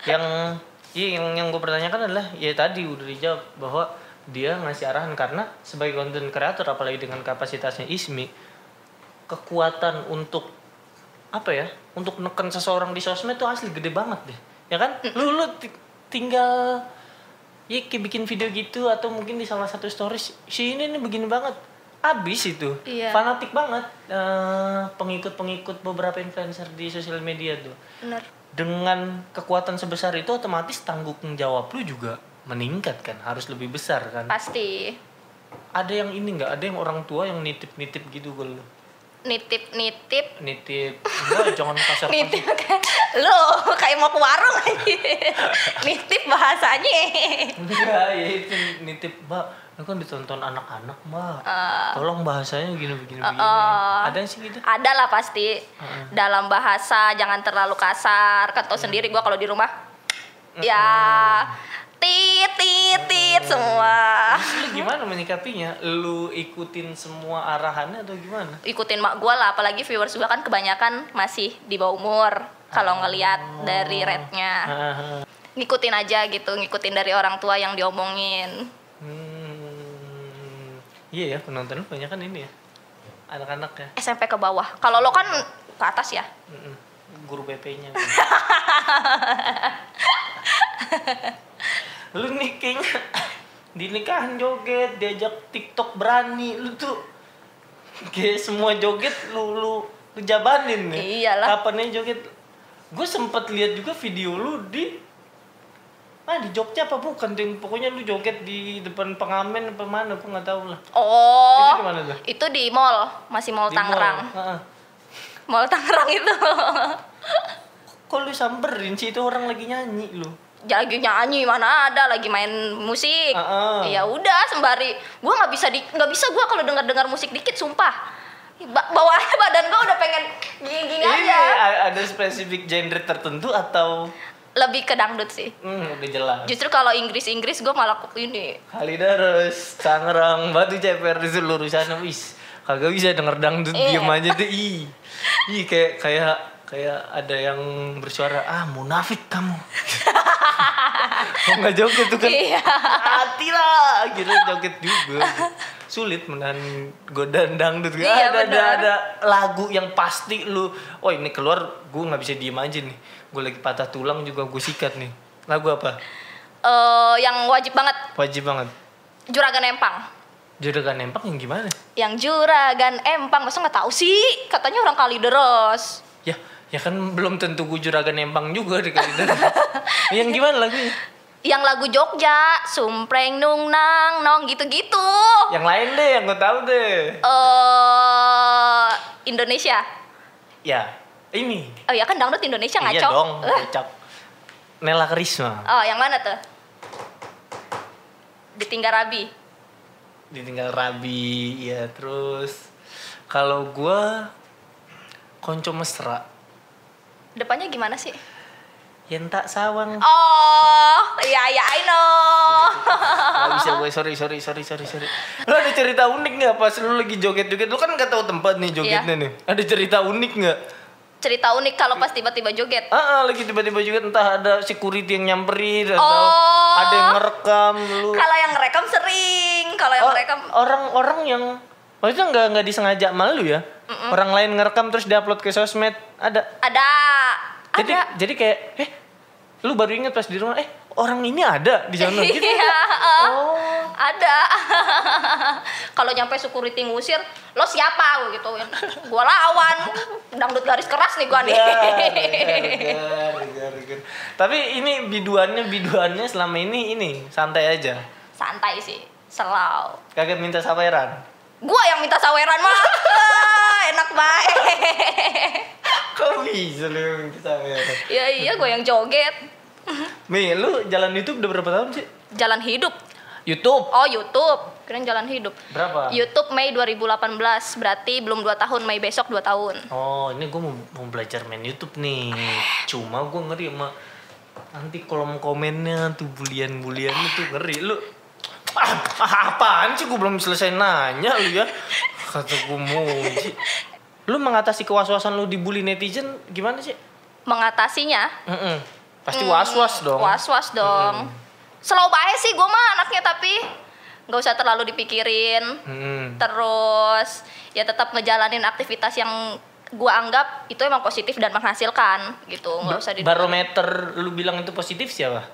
yang iya, yang yang gue pertanyakan adalah ya tadi udah dijawab bahwa dia ngasih arahan karena sebagai konten kreator apalagi dengan kapasitasnya Ismi kekuatan untuk apa ya untuk neken seseorang di sosmed tuh asli gede banget deh ya kan lu lu ti- tinggal ya kayak bikin video gitu atau mungkin di salah satu stories si ini nih begini banget abis itu
Iya.
fanatik banget eh, pengikut-pengikut beberapa influencer di sosial media tuh
bener
dengan kekuatan sebesar itu otomatis tanggung jawab lu juga meningkat kan harus lebih besar kan
pasti
ada yang ini nggak ada yang orang tua yang nitip-nitip gitu ke lu
nitip nitip
nitip enggak jangan kasar
nitip kan lo kayak mau ke warung aja nitip bahasanya
enggak ya itu nitip mbak ini kan ditonton anak-anak mbak tolong bahasanya begini begini begini ada yang sih gitu
ada lah pasti dalam bahasa jangan terlalu kasar kan tau sendiri gua kalau di rumah ya tit tit tit semua
lu gimana menyikapinya lu ikutin semua arahannya atau gimana
ikutin mak gua lah apalagi viewers gua kan kebanyakan masih di bawah umur kalau ngelihat dari rate-nya
Hahaha.
ngikutin aja gitu ngikutin dari orang tua yang diomongin
Hmm. iya ya penonton lu banyak kan ini ya anak-anak ya
SMP ke bawah kalau lo kan ke atas ya
Mm-mm. guru BP-nya lu nih kayaknya di nikahan joget diajak TikTok berani lu tuh kayak semua joget lu lu, lu jabanin nih
Iyalah.
kapan aja joget gue sempet lihat juga video lu di ah di Jogja apa bukan Ding? pokoknya lu joget di depan pengamen apa mana gue nggak tahu lah
oh
Itu di mana tuh?
itu di mall masih mall
Di mall.
Tangerang
Heeh.
mall Tangerang itu
kok lu samperin sih itu orang lagi nyanyi lu
lagi nyanyi mana ada lagi main musik
Heeh.
ya udah sembari gua nggak bisa di nggak bisa gua kalau dengar dengar musik dikit sumpah Ba- bawaannya badan gua udah pengen gini gini
Ini ya.
aja
a- ada spesifik genre tertentu atau
lebih ke dangdut sih
hmm, udah jelas.
justru kalau Inggris Inggris gue malah ke- ini
Kalideres, Tangerang, Batu Ceper di seluruh sana wis. Kagak bisa denger dangdut
Iya.
diem aja tuh. Ih. Ih kayak kayak kayak ada yang bersuara, "Ah, munafik kamu." Kok nggak joget tuh kan?
Iya.
Hati lah, gitu joget juga. Sulit menahan godaan dangdut.
Iya,
ada, ada,
benar.
ada lagu yang pasti lu, oh ini keluar gue nggak bisa diem aja nih. Gue lagi patah tulang juga gue sikat nih. Lagu apa?
eh, yang wajib banget
Wajib banget.
juragan empang
Jodoh nempak yang gimana?
yang juragan eh, empang masa nggak tahu sih katanya orang Kalideres
Ya, ya kan belum tentu gue juragan nembang juga di Kalideres. yang gimana lagunya?
yang lagu Jogja sumpreng nung nang nong gitu-gitu
Yang lain deh, yang gue tahu deh.
eh Indonesia
Ya, ini.
oh ya kan dangdut Indonesia ngaco
Iya dong,
Eh,
kocak. Nela Karisma
oh yang mana tuh ditinggal Rabi
ditinggal Rabi, ya terus kalau gue konco mesra
depannya gimana sih
yang tak sawang
oh iya iya I know
Gak bisa gue sorry sorry sorry sorry sorry. Lo ada cerita unik nggak pas lu lagi joget joget? Lu kan nggak tahu tempat nih jogetnya nih. Ada cerita unik nggak?
cerita unik kalau pas tiba-tiba joget
Ah, ah, lagi tiba-tiba juga entah ada security yang nyamperin atau
Oh.
ada yang ngerekam lu.
kalau yang rekam sering kalau yang
Oh,
rekam
Orang-orang yang maksudnya nggak nggak disengaja malu ya? Orang lain ngerekam terus diupload ke sosmed ada.
ada
Jadi
ada
jadi kayak eh lu baru inget pas di rumah eh orang ini ada di sana gitu.
Iya, eh,
Oh.
ada. Kalau nyampe security ngusir, lo siapa Gua gituin. Gua lawan. Dangdut garis keras nih gua nih.
Gar, gar, gar, gar. Tapi ini biduannya biduannya selama ini ini santai aja.
Santai sih, selau.
Kagak minta saweran.
Gua yang minta saweran mah. Ah, Enak baik.
Kok bisa lu yang minta saweran?
ya iya, gua yang joget.
Mi, lu jalan YouTube udah berapa tahun sih?
Jalan hidup.
YouTube
Oh, YouTube. Keren jalan hidup.
berapa?
YouTube Mei 2018, berarti belum 2 tahun, Mei besok 2 tahun.
Oh, ini gue mau, mau belajar main YouTube nih. Cuma gue ngeri sama nanti kolom komennya tuh bulian-bulian itu ngeri. Lu ah, ah, apaan sih gue belum selesai nanya lu ya? Kata gue mau. Ji. Lu mengatasi kewas-wasan lu dibully netizen gimana sih?
Mengatasinya,
Mm-mm.
Mm,
Pasti was-was dong. Hmm.
was-was dong. Slow bae sih gue mah anaknya tapi nggak usah terlalu dipikirin
Hmm.
terus ya tetap ngejalanin aktivitas yang gua anggap itu emang positif dan menghasilkan gitu nggak usah di
Barometer lu bilang itu positif siapa?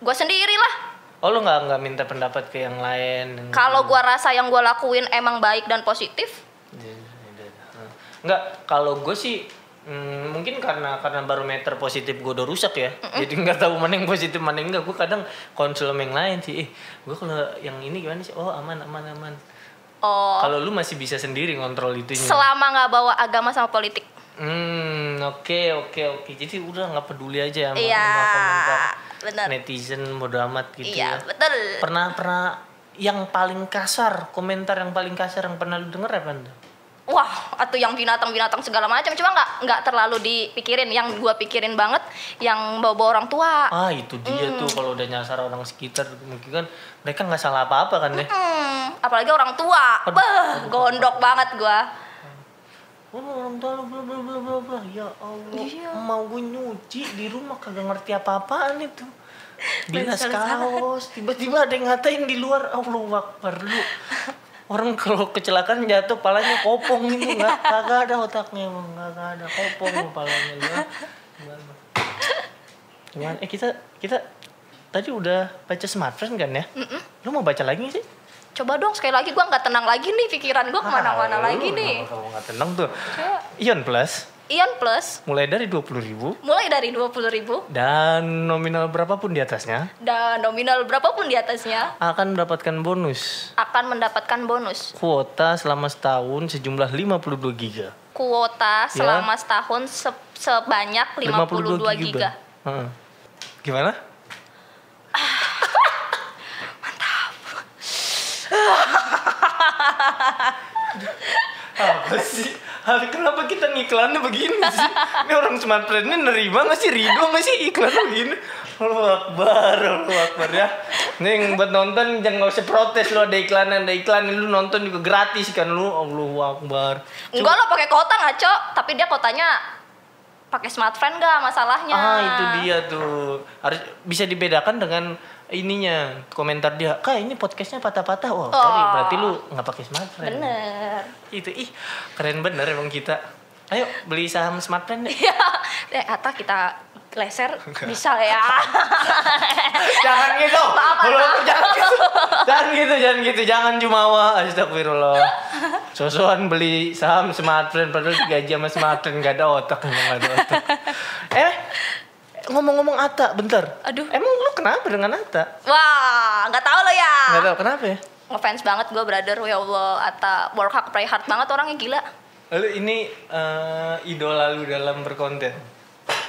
gua sendiri lah
Oh lu nggak nggak minta pendapat ke yang lain?
kalau gua rasa yang gua lakuin emang baik dan positif
Iya, Enggak, kalau gue sih mm, mungkin karena karena barometer positif gue udah rusak ya. Jadi nggak tahu mana yang positif mana yang enggak. Gue kadang konsul sama yang lain sih. Eh, gue kalau yang ini gimana sih? Oh aman aman aman.
oh
Kalau lu masih bisa sendiri ngontrol itunya.
selama nggak bawa agama sama politik
Hmm, oke oke oke. Jadi udah nggak peduli aja sama,
iya
sama komentar
bener
netizen bodo amat gitu
iya
ya.
betul
Pernah pernah yang paling kasar, komentar yang paling kasar yang pernah lu denger apa? Nda?
wah atau yang binatang-binatang segala macam cuma nggak nggak terlalu dipikirin yang gua pikirin banget yang bawa-bawa orang tua
Ah itu dia tuh kalau udah nyasar orang sekitar mungkin kan mereka nggak salah apa-apa kan deh.
Hmm, apalagi orang tua
Aduh,
beh gondok banget gua
Oh, orang tua lu bla bla bla bla bla. Ya Allah,
Iya.
mau gue nyuci di rumah kagak ngerti apa-apaan itu. Bilas kaos, tiba-tiba ada yang ngatain di luar, Allah wakbar lu. Orang kalau kecelakaan jatuh palanya kopong itu nggak kagak ada otaknya emang kagak ada kopong lu palanya lu. ah. Gimana? Gimana? Eh kita kita tadi udah baca smartphone kan ya? Lu mau baca lagi nggak sih?
coba dong sekali lagi gua nggak tenang lagi nih pikiran gua kemana-mana
Ah,
lagi
lu
nih Eh,
kenapa Kamu nggak tenang tuh. Ion Plus
Ian Plus
mulai dari 20.000 ribu
mulai dari 20.000 ribu
dan nominal berapapun di atasnya
dan nominal berapapun di atasnya
akan mendapatkan bonus
akan mendapatkan bonus
kuota selama setahun sejumlah 52 giga.
kuota
Ya.
selama setahun se- sebanyak 52, giga.
Heeh. Gimana? Mantap. Apa sih? Hal kenapa kita ngiklannya begini sih? Ini orang smartphone ini nerima nggak sih? Ridho nggak sih iklannya begini? Allah Akbar, Allah Akbar ya. Ini yang buat nonton jangan nggak usah protes lu ada iklanan, ada iklan lu nonton juga gratis kan lu. Allah Akbar.
Enggak lah pakai kota ngaco, tapi dia kotanya pakai smartphone enggak masalahnya.
Ah itu dia tuh harus bisa dibedakan dengan ininya komentar dia. Kak ini podcastnya patah-patah. Wah sorry
Oh.
berarti lu nggak pakai smartphone.
Bener.
Itu ih keren bener emang kita. Ayo beli saham smartphone deh.
Iya. eh Ata kita leser bisa ya.
jangan gitu.
Maaf,
Lu- jangan gitu. Jangan gitu, jangan gitu. Jangan jumawa. Astagfirullah. Sosokan beli saham smartphone padahal digaji sama smartphone gak ada otak emang gak ada otak. Eh ngomong-ngomong Ata bentar.
Aduh.
Emang lu kenapa dengan Ata?
Wah, nggak tahu lo ya.
Gak tau kenapa ya?
Ngefans banget gue brother, ya Allah. Ata work hard, pray hard banget orangnya gila.
Lalu ini eh, idola lu dalam berkonten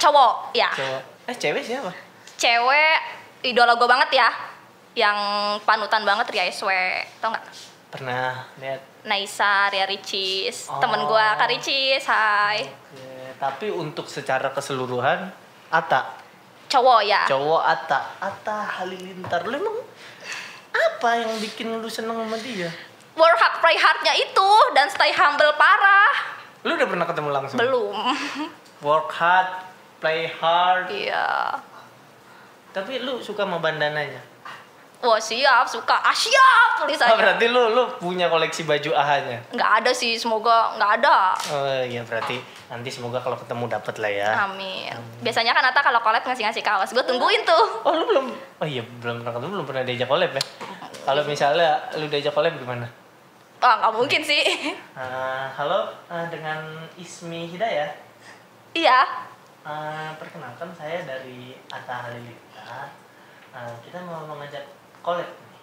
Cowok, ya.
cowok. Eh cewek siapa?
Cewek idola gue banget ya. Yang panutan banget Ria SW, tau nggak?
Pernah lihat.
Naisa, Ria Ricis,
Oh.
temen gua Kak Ricis, hai.
Oke, Tapi untuk secara keseluruhan Ata,
Cowok ya.
cowok Ata, Ata Halilintar. Lu emang apa yang bikin lu seneng sama dia?
Work hard, play hardnya itu dan stay humble parah.
Lu udah pernah ketemu langsung?
Belum.
Work hard, play hard.
Iya.
Tapi lu suka sama bandananya?
Wah siap, suka. Ah siap
Oh,
tulisannya.
berarti lu lu punya koleksi baju ahanya?
Nggak ada sih, semoga nggak ada.
Oh iya berarti nanti semoga kalau ketemu dapat lah ya.
Amin. Biasanya kan Nata kalau collab ngasih-ngasih kaos, gue tungguin tuh.
Oh lu belum? Oh iya belum pernah ketemu, belum pernah diajak collab ya? Kalau misalnya lu diajak collab gimana?
Wah Oh, nggak mungkin sih.
Ah, halo, ah, dengan Ismi Hidayah.
iya.
Ah, perkenalkan saya dari Atta Halilintar. Ah, kita mau mengajak collab nih.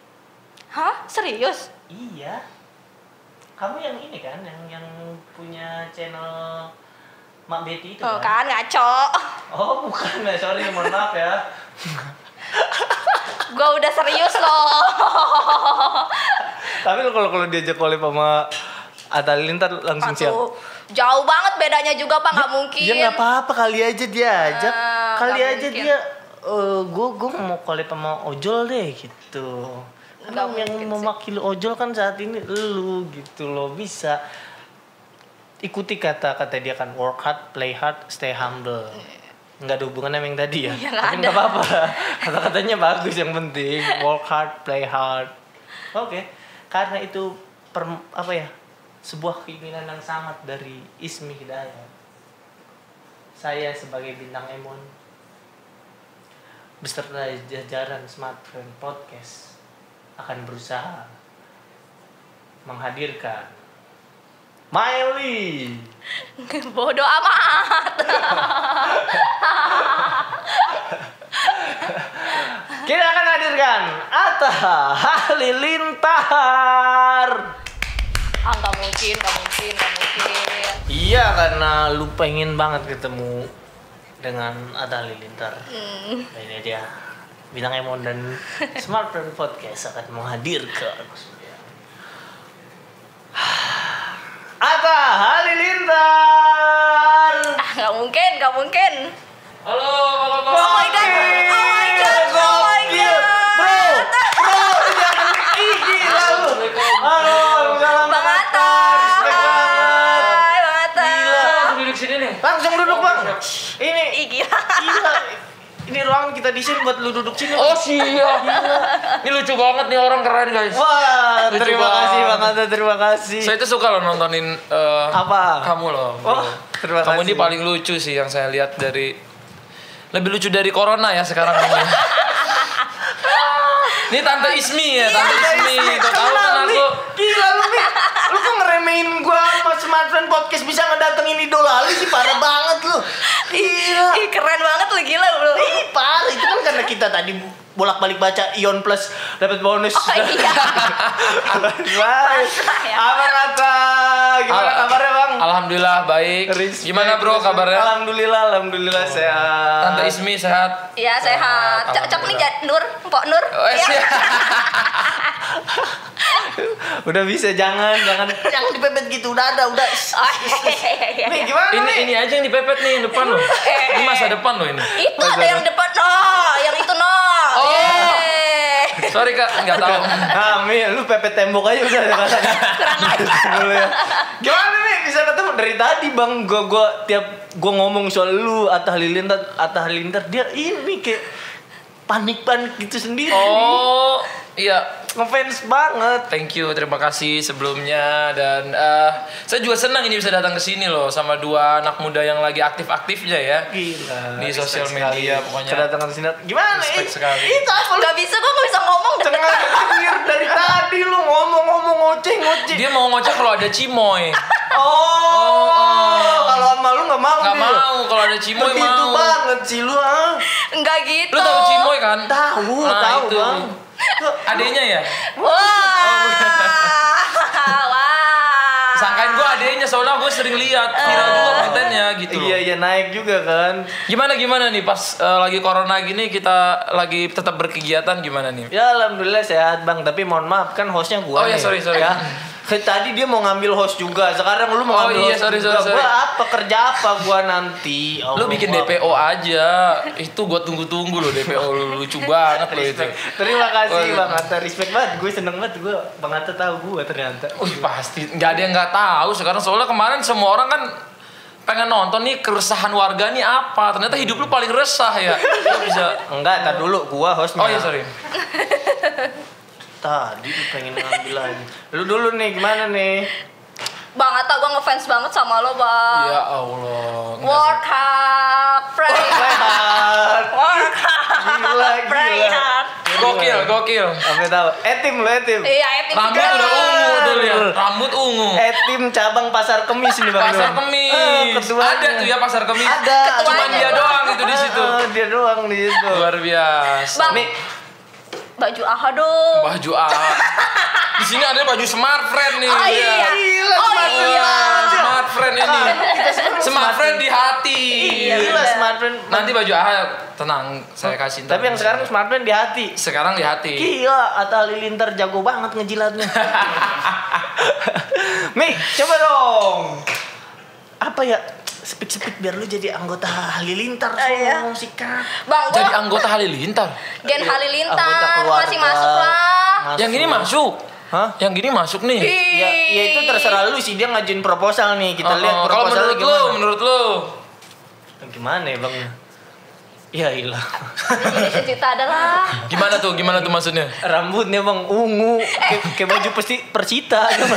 Hah? Serius?
Iya. Kamu yang ini kan, yang yang punya channel Mak Betty itu
Tuh kan
kan?
ngaco.
Oh bukan ya, sorry mohon maaf ya.
Gue udah serius loh.
Tapi lu kalau kalau diajak collab sama Atta Halilintar langsung siap.
Aduh, jauh banget bedanya juga pak nggak mungkin
Ya nggak apa-apa kali aja dia ajak.
Ah,
kali
nggak
aja
mungkin.
dia gue gue mau collab sama ojol deh gitu.
Nggak
Emang yang
mungkin sih.
mewakili ojol kan saat ini lu gitu loh bisa ikuti kata kata dia kan work hard, play hard, stay humble. Nggak ada hubungannya sama yang tadi ya.
Iya, nggak
Tapi
ada.
nggak apa-apa. Kata katanya bagus yang penting work hard, play hard. Oke. Karena itu per- apa ya? Sebuah keinginan yang sangat dari Ismi Hidayat. Saya sebagai bintang Emon beserta jajaran Smartphone Podcast akan berusaha menghadirkan Miley.
Bodoh amat.
Kita akan hadirkan Atta Halilintar.
Ah, nggak mungkin, nggak mungkin, nggak mungkin.
Iya karena lu pengen banget ketemu dengan Atta Halilintar.
Hmm.
Nah, ini dia bintang Emon dan Smartphone Podcast akan menghadirkan Atta Halilintar.
Ah, nggak mungkin, nggak mungkin.
Halo, halo, halo.
Oh my god, oh my god, oh my
Gokil.
god.
Bro, bro, lu jangan gigi lalu. Halo, salam
Bang Atta.
respect banget.
Hai, Bang Atta.
Gila.
Langsung duduk sini nih.
Langsung duduk bang. Ini
Ih, gila.
gila. Ini ruangan kita desain buat lu duduk sini.
Oh siap. Ini lucu banget nih orang keren guys.
Wah,
Lucu
terima
banget.
kasih bang Atta, terima kasih.
Saya itu suka loh nontonin eh,
Apa?
kamu loh. bro.
Oh, terima
kamu
kasih.
ini paling lucu sih yang saya lihat dari lebih lucu dari corona ya sekarang ini. ini tante Ismi ya, tante Ismi. Kau tahu
Kenal,
kan
Mi.
aku
Gila lu Mi. Lu kok ngeremehin gua sama smartphone podcast bisa ngedatengin idola lu sih parah banget lu. Iya.
Ih, keren banget lu gila lu.
Ih, parah itu kan karena kita tadi bolak-balik baca Ion Plus dapat bonus.
Oh iya.
Wah.
ya.
Apa kata? Gimana
Al-
kabarnya, Bang?
Alhamdulillah baik.
Respect.
Gimana bro kabarnya? Oh.
Alhamdulillah, alhamdulillah sehat.
Tante Ismi sehat.
Iya, sehat. Cocok nih Jad-
Alhamdulillah.
Nur, Mpok Nur.
Oh,
Iya.
siap.
Udah bisa jangan, jangan jangan dipepet gitu. Udah ada, udah.
Oh, iya, iya, iya,
Mi,
iya.
gimana
ini
Mi?
ini aja yang dipepet nih yang depan loh. Ini masa depan loh ini.
Itu ada yang depan no, yang itu no. Iya.
Oh.
Yeay.
Sorry kak, nggak tahu.
Ah, Mi, lu pepet tembok aja udah ada rasanya. Dulu ya. Gimana Mi bisa ketemu dari tadi Bang? Gua gua tiap gua ngomong soal lu Atta Halilintar, Atta Halilintar dia ini kayak panik-panik gitu sendiri.
Oh iya,
Ngefans banget.
Thank you, terima kasih sebelumnya dan eh, saya juga senang ini bisa datang ke sini loh sama dua anak muda yang lagi aktif-aktifnya ya.
Gila.
Di
respect
sosial
sekali.
media pokoknya.
Kedatangan sini. Gimana? Ih,
Respect sekali.
Itu apa lu?
Gak bisa, gua gak bisa ngomong
Tengah clear dari tadi lu ngomong-ngomong ngoceh-ngoceh.
Dia mau ngoceh kalau ada Cimoy.
Oh, kalau sama lu nggak mau
Gak
dia.
oh. mau kalau ada Cimoy
Begitu
mau.
banget sih lu ah.
Enggak gitu.
Lu tahu Cimoy kan?
Tahu,
Nah,
tahu
itu.
bang. Tuh,
Adenya ya?
Wah. Wah.
Sangkain gue adenya soalnya gue sering lihat viral juga kontennya gitu. loh.
Iya iya naik juga kan.
Gimana gimana nih pas eh, lagi corona gini kita lagi tetap berkegiatan gimana nih?
Ya alhamdulillah sehat bang. Tapi mohon maaf kan hostnya gua.
Oh, iya,
nih.
sorry, sorry.
Ya. Ke- Tadi dia mau ngambil host juga. Sekarang lu mau
Oh,
ngambil
iya,
host
sorry,
juga. Gua
sorry, sorry.
apa kerja apa gua nanti?
Lu bikin
Allah.
DPO aja. Itu gua tunggu-tunggu loh DPO lu lucu banget lo itu.
Terima kasih
Waduh.
Bang Atta, respect banget. Gue seneng banget gue Bang Atta tahu gue ternyata.
Wih pasti nggak ada yang nggak tahu sekarang soalnya kemarin semua orang kan pengen nonton nih keresahan warga nih apa ternyata hidup lu paling resah ya lu bisa
Enggak, tar dulu gua hostnya.
oh ya sorry
Tadi lu pengen ngambil lagi. Lu dulu nih gimana nih?
Bang Atta gua ngefans banget sama lo,
Iya,
Bang.
ya allah Nggak
Work hard, pray
Sehat.
Work hard,
Gila,
pray
gila.
hard.
sih. gokil gokil
Sampai tahu. Etim lu eh, etim.
Iya, itu
rambut udah ungu tuh lihat rambut ungu
Etim Eh, cabang pasar kemis nih Bang.
pasar
Dong. Eh,
kemis
ketuanya.
ada tuh ya pasar kemis
Ada.
cuman dia doang itu di situ
Eh, eh, dia doang di situ.
luar biasa
Bang.
Nih,
Baju aha dong.
baju A di sini ada baju smart friend nih
Oh
iya.
iya.
Gila,
Oh
smart
iya.
Wah, smart friend ini smart friend di hati
gila
bener.
smartphone.
nanti baju A tenang saya kasih ntar.
Tapi yang sekarang smartphone di hati.
sekarang di hati
Gila, Atta Halilintar jago banget ngejilatnya. Mi, coba dong. Apa ya? Sepik-sepik biar lu jadi anggota Halilintar
Ah, iya.
sono sikat.
Bang,
jadi
gua
anggota Halilintar
Gen
iya. Anggota
Halilintar
keluarga.
masih masuk lah.
Masuk.
yang ini masuk
Hah?
yang gini masuk nih
Ya, ya itu terserah lu sih dia ngajuin proposal nih. Kita
Oh,
lihat
oh. kalau
proposal
menurut lu
gimana.
menurut lu
Gimana ya, Bang? Ya ilah.
Jadi sejuta adalah
Gimana tuh? Gimana tuh maksudnya?
Rambutnya bang ungu, kayak kayak baju pasti persita. gitu.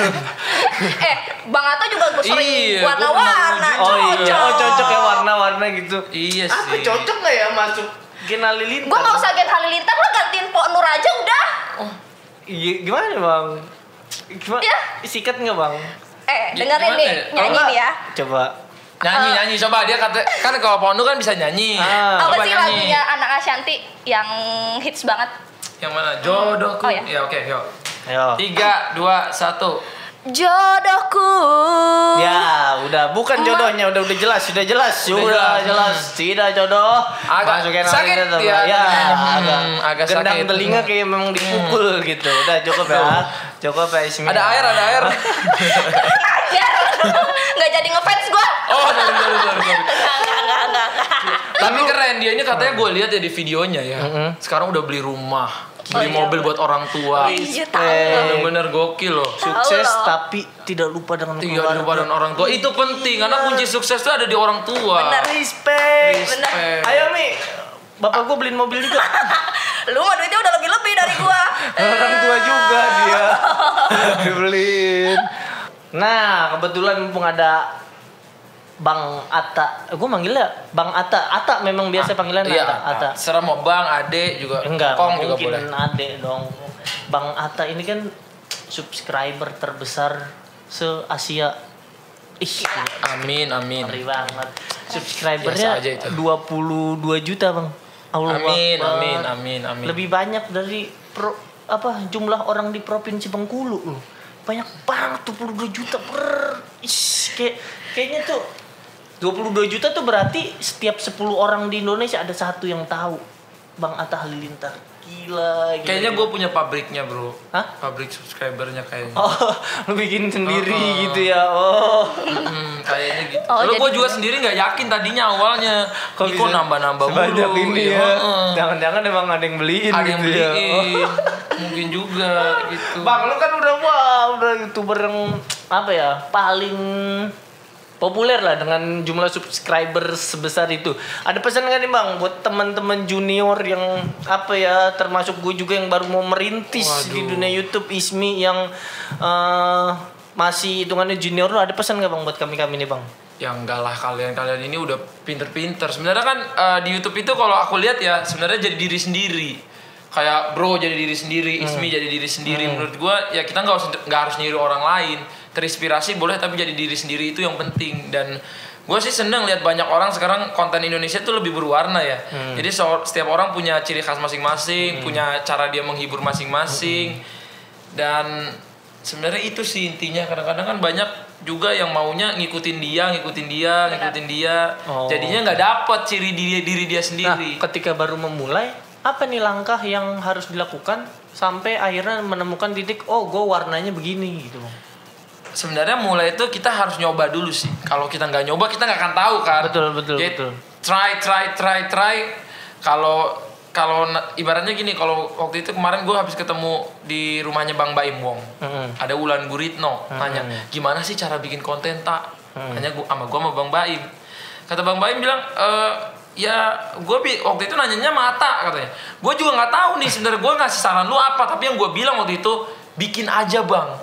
eh Bang Ato juga gue sering
Iya, gua
warna-warna
pernah
oh iya,
cocok.
oh cocok ya warna-warna gitu.
Iya
Apa
sih.
cocok nggak ya masuk Gena Lilintar?
Gue gak usah gen halilintar lo gantiin Pok Nur aja udah.
Iya, gimana bang? Gimana?
Ya.
Sikat nggak bang?
Eh
Gi-
dengerin
gimana
nih
ya? Kalau
nyanyi
nggak,
nih ya.
Coba.
Nyanyi
Eh.
nyanyi coba dia kata kan kalau Pondu kan bisa nyanyi.
Ah.
Apa
Coba
sih
nyanyi.
lagunya anak Ashanti yang hits banget?
Yang mana? Jodohku.
Oh,
ya.
ya.
oke, yuk.
Ayo.
Tiga, dua, satu.
Jodohku. Oh.
Ya, udah bukan jodohnya, udah udah jelas, sudah jelas, sudah,
jelas. Hmm.
jelas, tidak jodoh.
Agak
Masukin
sakit,
lagi tetap,
ya.
ya,
Hmm,
agak,
agak
gendang
sakit. Hmm.
telinga kayak memang dipukul gitu. Udah cukup ya, cukup ya Ismi.
Ada air, ada air.
Ajar. Gak jadi ngefans gue.
Oh, sorry, sorry, sorry,
Enggak,
sorry.
enggak, enggak, enggak, enggak.
Tapi keren dia ini katanya gue lihat ya di videonya ya. Sekarang udah beli rumah, beli
iya.
mobil buat orang tua.
Iya,
Respect.
tahu.
Bener-bener gokil loh.
Sukses
Tahu loh.
tapi tidak lupa dengan
Tiga di depan orang tua itu penting karena kunci sukses itu ada di orang tua.
Iya. Bener.
Respect.
Bener.
Eh,
Ayo Mi, bapak gue beliin mobil juga.
Lu mah duitnya udah lebih-lebih dari gua. Eh.
Orang tua juga dia. Dibeliin. Nah, kebetulan mumpung ada Bang Ata. Gue manggilnya Bang Ata. Ata memang biasa panggilan
Iya,
Ata. Ata.
Serah mau bang, ade juga,
Enggak,
kong
nggak
juga
mungkin
boleh.
Ade dong. Bang Ata ini kan subscriber terbesar se-Asia. Ih, gila,
Amin, amin.
ngeri banget. Subscribernya
Biasa aja itu.
22 juta, Bang. Allah
Amin,
Akbar.
amin, amin, amin.
Lebih banyak dari pro, apa jumlah orang di provinsi Bengkulu
Hmm.
loh. Banyak banget 22 juta per. Ish, kayak kayaknya tuh 22 juta tuh berarti setiap 10 orang di Indonesia ada satu yang tahu Bang Atta Halilintar. Gila, gila.
Kayaknya gue punya pabriknya bro.
Hah?
Pabrik subscribernya kayaknya.
Oh, lu bikin sendiri
Oh.
gitu ya. Oh.
Hmm, kayaknya gitu.
Oh,
Lalu
jadi-
gue juga sendiri nggak yakin tadinya awalnya. Kok,
Kok
kok
bisa
nambah-nambah
Iya. sebanyak
mulu.
ini
Iya,
ya.
heeh.
Jangan-jangan emang ada yang beliin
Ada yang
gitu ya. Oh.
beliin. Mungkin juga gitu.
Bang lu kan udah wah udah youtuber yang apa ya paling populer lah dengan jumlah subscriber sebesar itu. Ada pesan nggak nih bang buat teman-teman junior yang apa ya termasuk gue juga yang baru mau merintis di
Waduh.
dunia YouTube Ismi yang eh, masih hitungannya junior lu ada pesan nggak bang buat kami kami nih bang?
ya enggak lah kalian kalian ini udah pinter-pinter sebenarnya kan eh, di YouTube itu kalau aku lihat ya sebenarnya jadi diri sendiri kayak bro jadi diri
Hmm.
sendiri Ismi jadi diri sendiri menurut gua ya kita nggak usah nggak harus niru orang lain terinspirasi boleh tapi jadi diri sendiri itu yang penting dan gue sih seneng lihat banyak orang sekarang konten Indonesia tuh lebih berwarna ya
Hmm.
jadi so- setiap orang punya ciri khas masing-masing punya cara dia menghibur masing-masing
Hmm.
dan sebenarnya itu sih intinya kadang-kadang kan banyak juga yang maunya ngikutin dia ngikutin dia ngikutin dia
Oh.
jadinya nggak dapet ciri diri diri dia
Nah,
sendiri
ketika baru memulai, apa nih langkah yang harus dilakukan sampai akhirnya menemukan titik, oh gue warnanya begini gitu. Bang.
sebenarnya mulai itu kita harus nyoba dulu sih kalau kita nggak nyoba kita nggak akan tahu kan
Betul, betul,
Jadi,
betul.
try try try try kalau kalau na- ibaratnya gini kalau waktu itu kemarin gue habis ketemu di rumahnya Bang Baim Wong
Mm-mm.
ada Wulan Guritno nanya gimana sih cara bikin konten tak hanya gua sama gua sama Bang Baim kata Bang Baim bilang e, ya gue waktu itu nanyanya mata katanya gue juga nggak tahu nih sebenarnya gue ngasih saran lu apa tapi yang gue bilang waktu itu bikin aja bang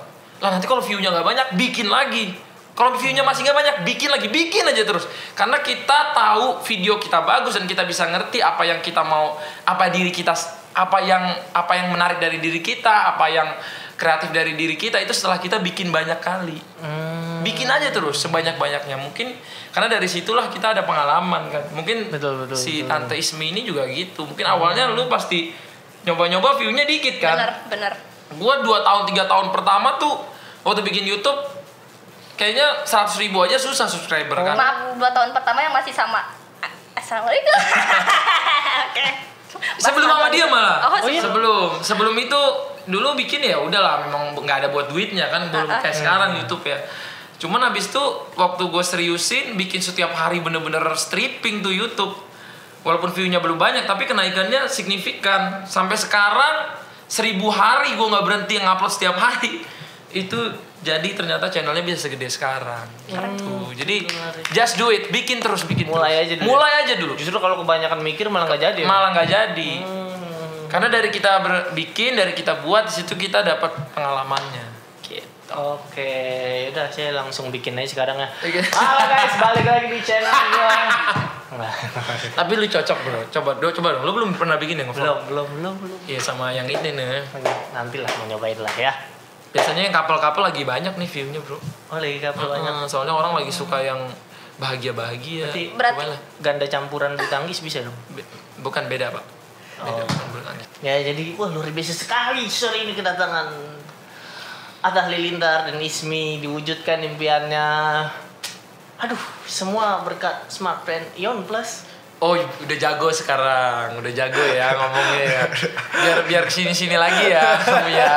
lah nanti kalau view-nya nggak banyak bikin lagi kalau view-nya masih nggak banyak bikin lagi bikin aja terus karena kita tahu video kita bagus dan kita bisa ngerti apa yang kita mau apa diri kita apa yang apa yang menarik dari diri kita apa yang kreatif dari diri kita itu setelah kita bikin banyak kali
Hmm.
bikin aja terus sebanyak banyaknya mungkin karena dari situlah kita ada pengalaman kan mungkin
Betul, betul,
si
betul.
tante Ismi ini juga gitu mungkin awalnya lu pasti nyoba-nyoba view-nya dikit kan
Bener, bener.
gua 2 tahun tiga tahun pertama tuh waktu bikin YouTube kayaknya 100.000 ribu aja susah subscriber kan
Maaf, dua tahun pertama yang masih sama. A- Assalamualaikum. Oke.
sebelum sama dia malah
Oh,
Oh, iya.
sebelum sebelum itu dulu bikin ya udahlah memang nggak ada buat duitnya kan belum
Ah, ah.
kayak sekarang YouTube ya cuman habis itu waktu gue seriusin bikin setiap hari bener-bener stripping tuh YouTube walaupun view-nya belum banyak tapi kenaikannya signifikan sampai sekarang seribu hari gue nggak berhenti ngupload setiap hari itu jadi ternyata channelnya bisa segede sekarang gitu jadi just do it bikin terus bikin
Mulai
terus.
aja dulu.
mulai aja dulu
Justru kalau kebanyakan mikir malah nggak jadi. ya?
malah nggak jadi
Hmm,
karena dari kita ber- bikin dari kita buat di situ kita dapat pengalamannya gitu
Oke, udah saya langsung bikin aja sekarang ya.
Oke.
Halo guys, balik lagi di channel gua. Nggak.
tapi lu cocok bro coba do coba dong lu belum pernah bikin ya ngevlog
belum, belum, belum, belum.
Iya sama yang ini nih
Nanti lah mau nyobain lah ya.
biasanya yang kapal-kapal lagi banyak nih view-nya bro
Oh lagi kapal banyak.
Heeh, soalnya orang lagi suka yang bahagia-bahagia
Berarti-
Berarti-
Gimana?
Ganda campuran bulu tangkis bisa dong.
Be- bukan beda pak beda bukan bulu tangkis.
Ya jadi wah luar biasa sekali sore ini kedatangan Atah Lilintar dan Ismi diwujudkan impiannya. Aduh, semua berkat smartphone Ion Plus.
Oh, udah jago sekarang, udah jago ya ngomongnya ya. Biar biar kesini sini lagi ya, kamu ya.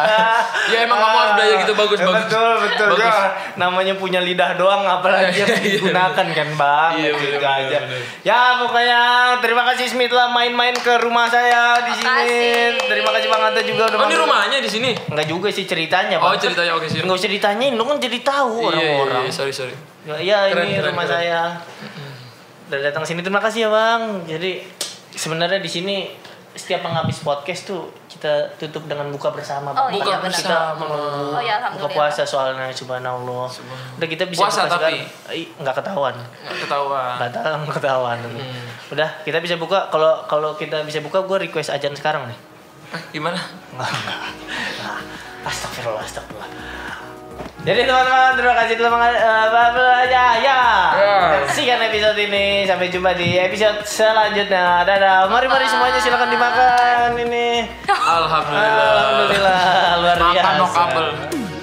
Ya emang kamu harus belajar gitu bagus bagus.
Eh, Betul, betul.
Bagus.
Ya, namanya punya lidah doang apalagi yang
Iya, iya.
digunakan kan, Bang.
Iya,
Gitu
bener, bener,
aja.
bener.
Ya, pokoknya terima kasih Ismi telah main-main ke rumah saya di sini.
Makasih.
Terima kasih Bang Atta juga udah
Oh, ini
mampir.
rumahnya di sini.
Enggak juga sih ceritanya,
Oh,
Bang.
ceritanya oke sih. Iya,
Enggak usah ditanyain, lu kan jadi tahu
iya,
orang-orang.
iya, sorry sorry.
Ya
Keren,
ini
keren,
rumah
keren.
saya. Udah datang sini terima kasih ya bang. Jadi sebenarnya di sini setiap menghabis podcast tuh kita tutup dengan buka bersama.
Oh, iya,
Bang.
Buka
benar.
kita
bersama.
Oh ya
buka
alhamdulillah.
puasa soalnya subhanallah. Udah kita bisa
Puasa
buka
tapi? Ah.
sekarang. Ih, nggak ketahuan.
Nggak ketahuan.
Batal nggak ketahuan.
Hmm.
Udah kita bisa buka kalau kalau kita bisa buka gue request ajan sekarang nih.
Eh, gimana?
Enggak, enggak. Nah, Astagfirullah, astagfirullah. Jadi teman-teman, terima kasih telah mengajar ya. ya.
Ya.
Sekian episode ini. Sampai jumpa di episode selanjutnya. Dadah. Mari-mari semuanya silakan dimakan ini.
Alhamdulillah.
Alhamdulillah, luar biasa.
Makan no kabel.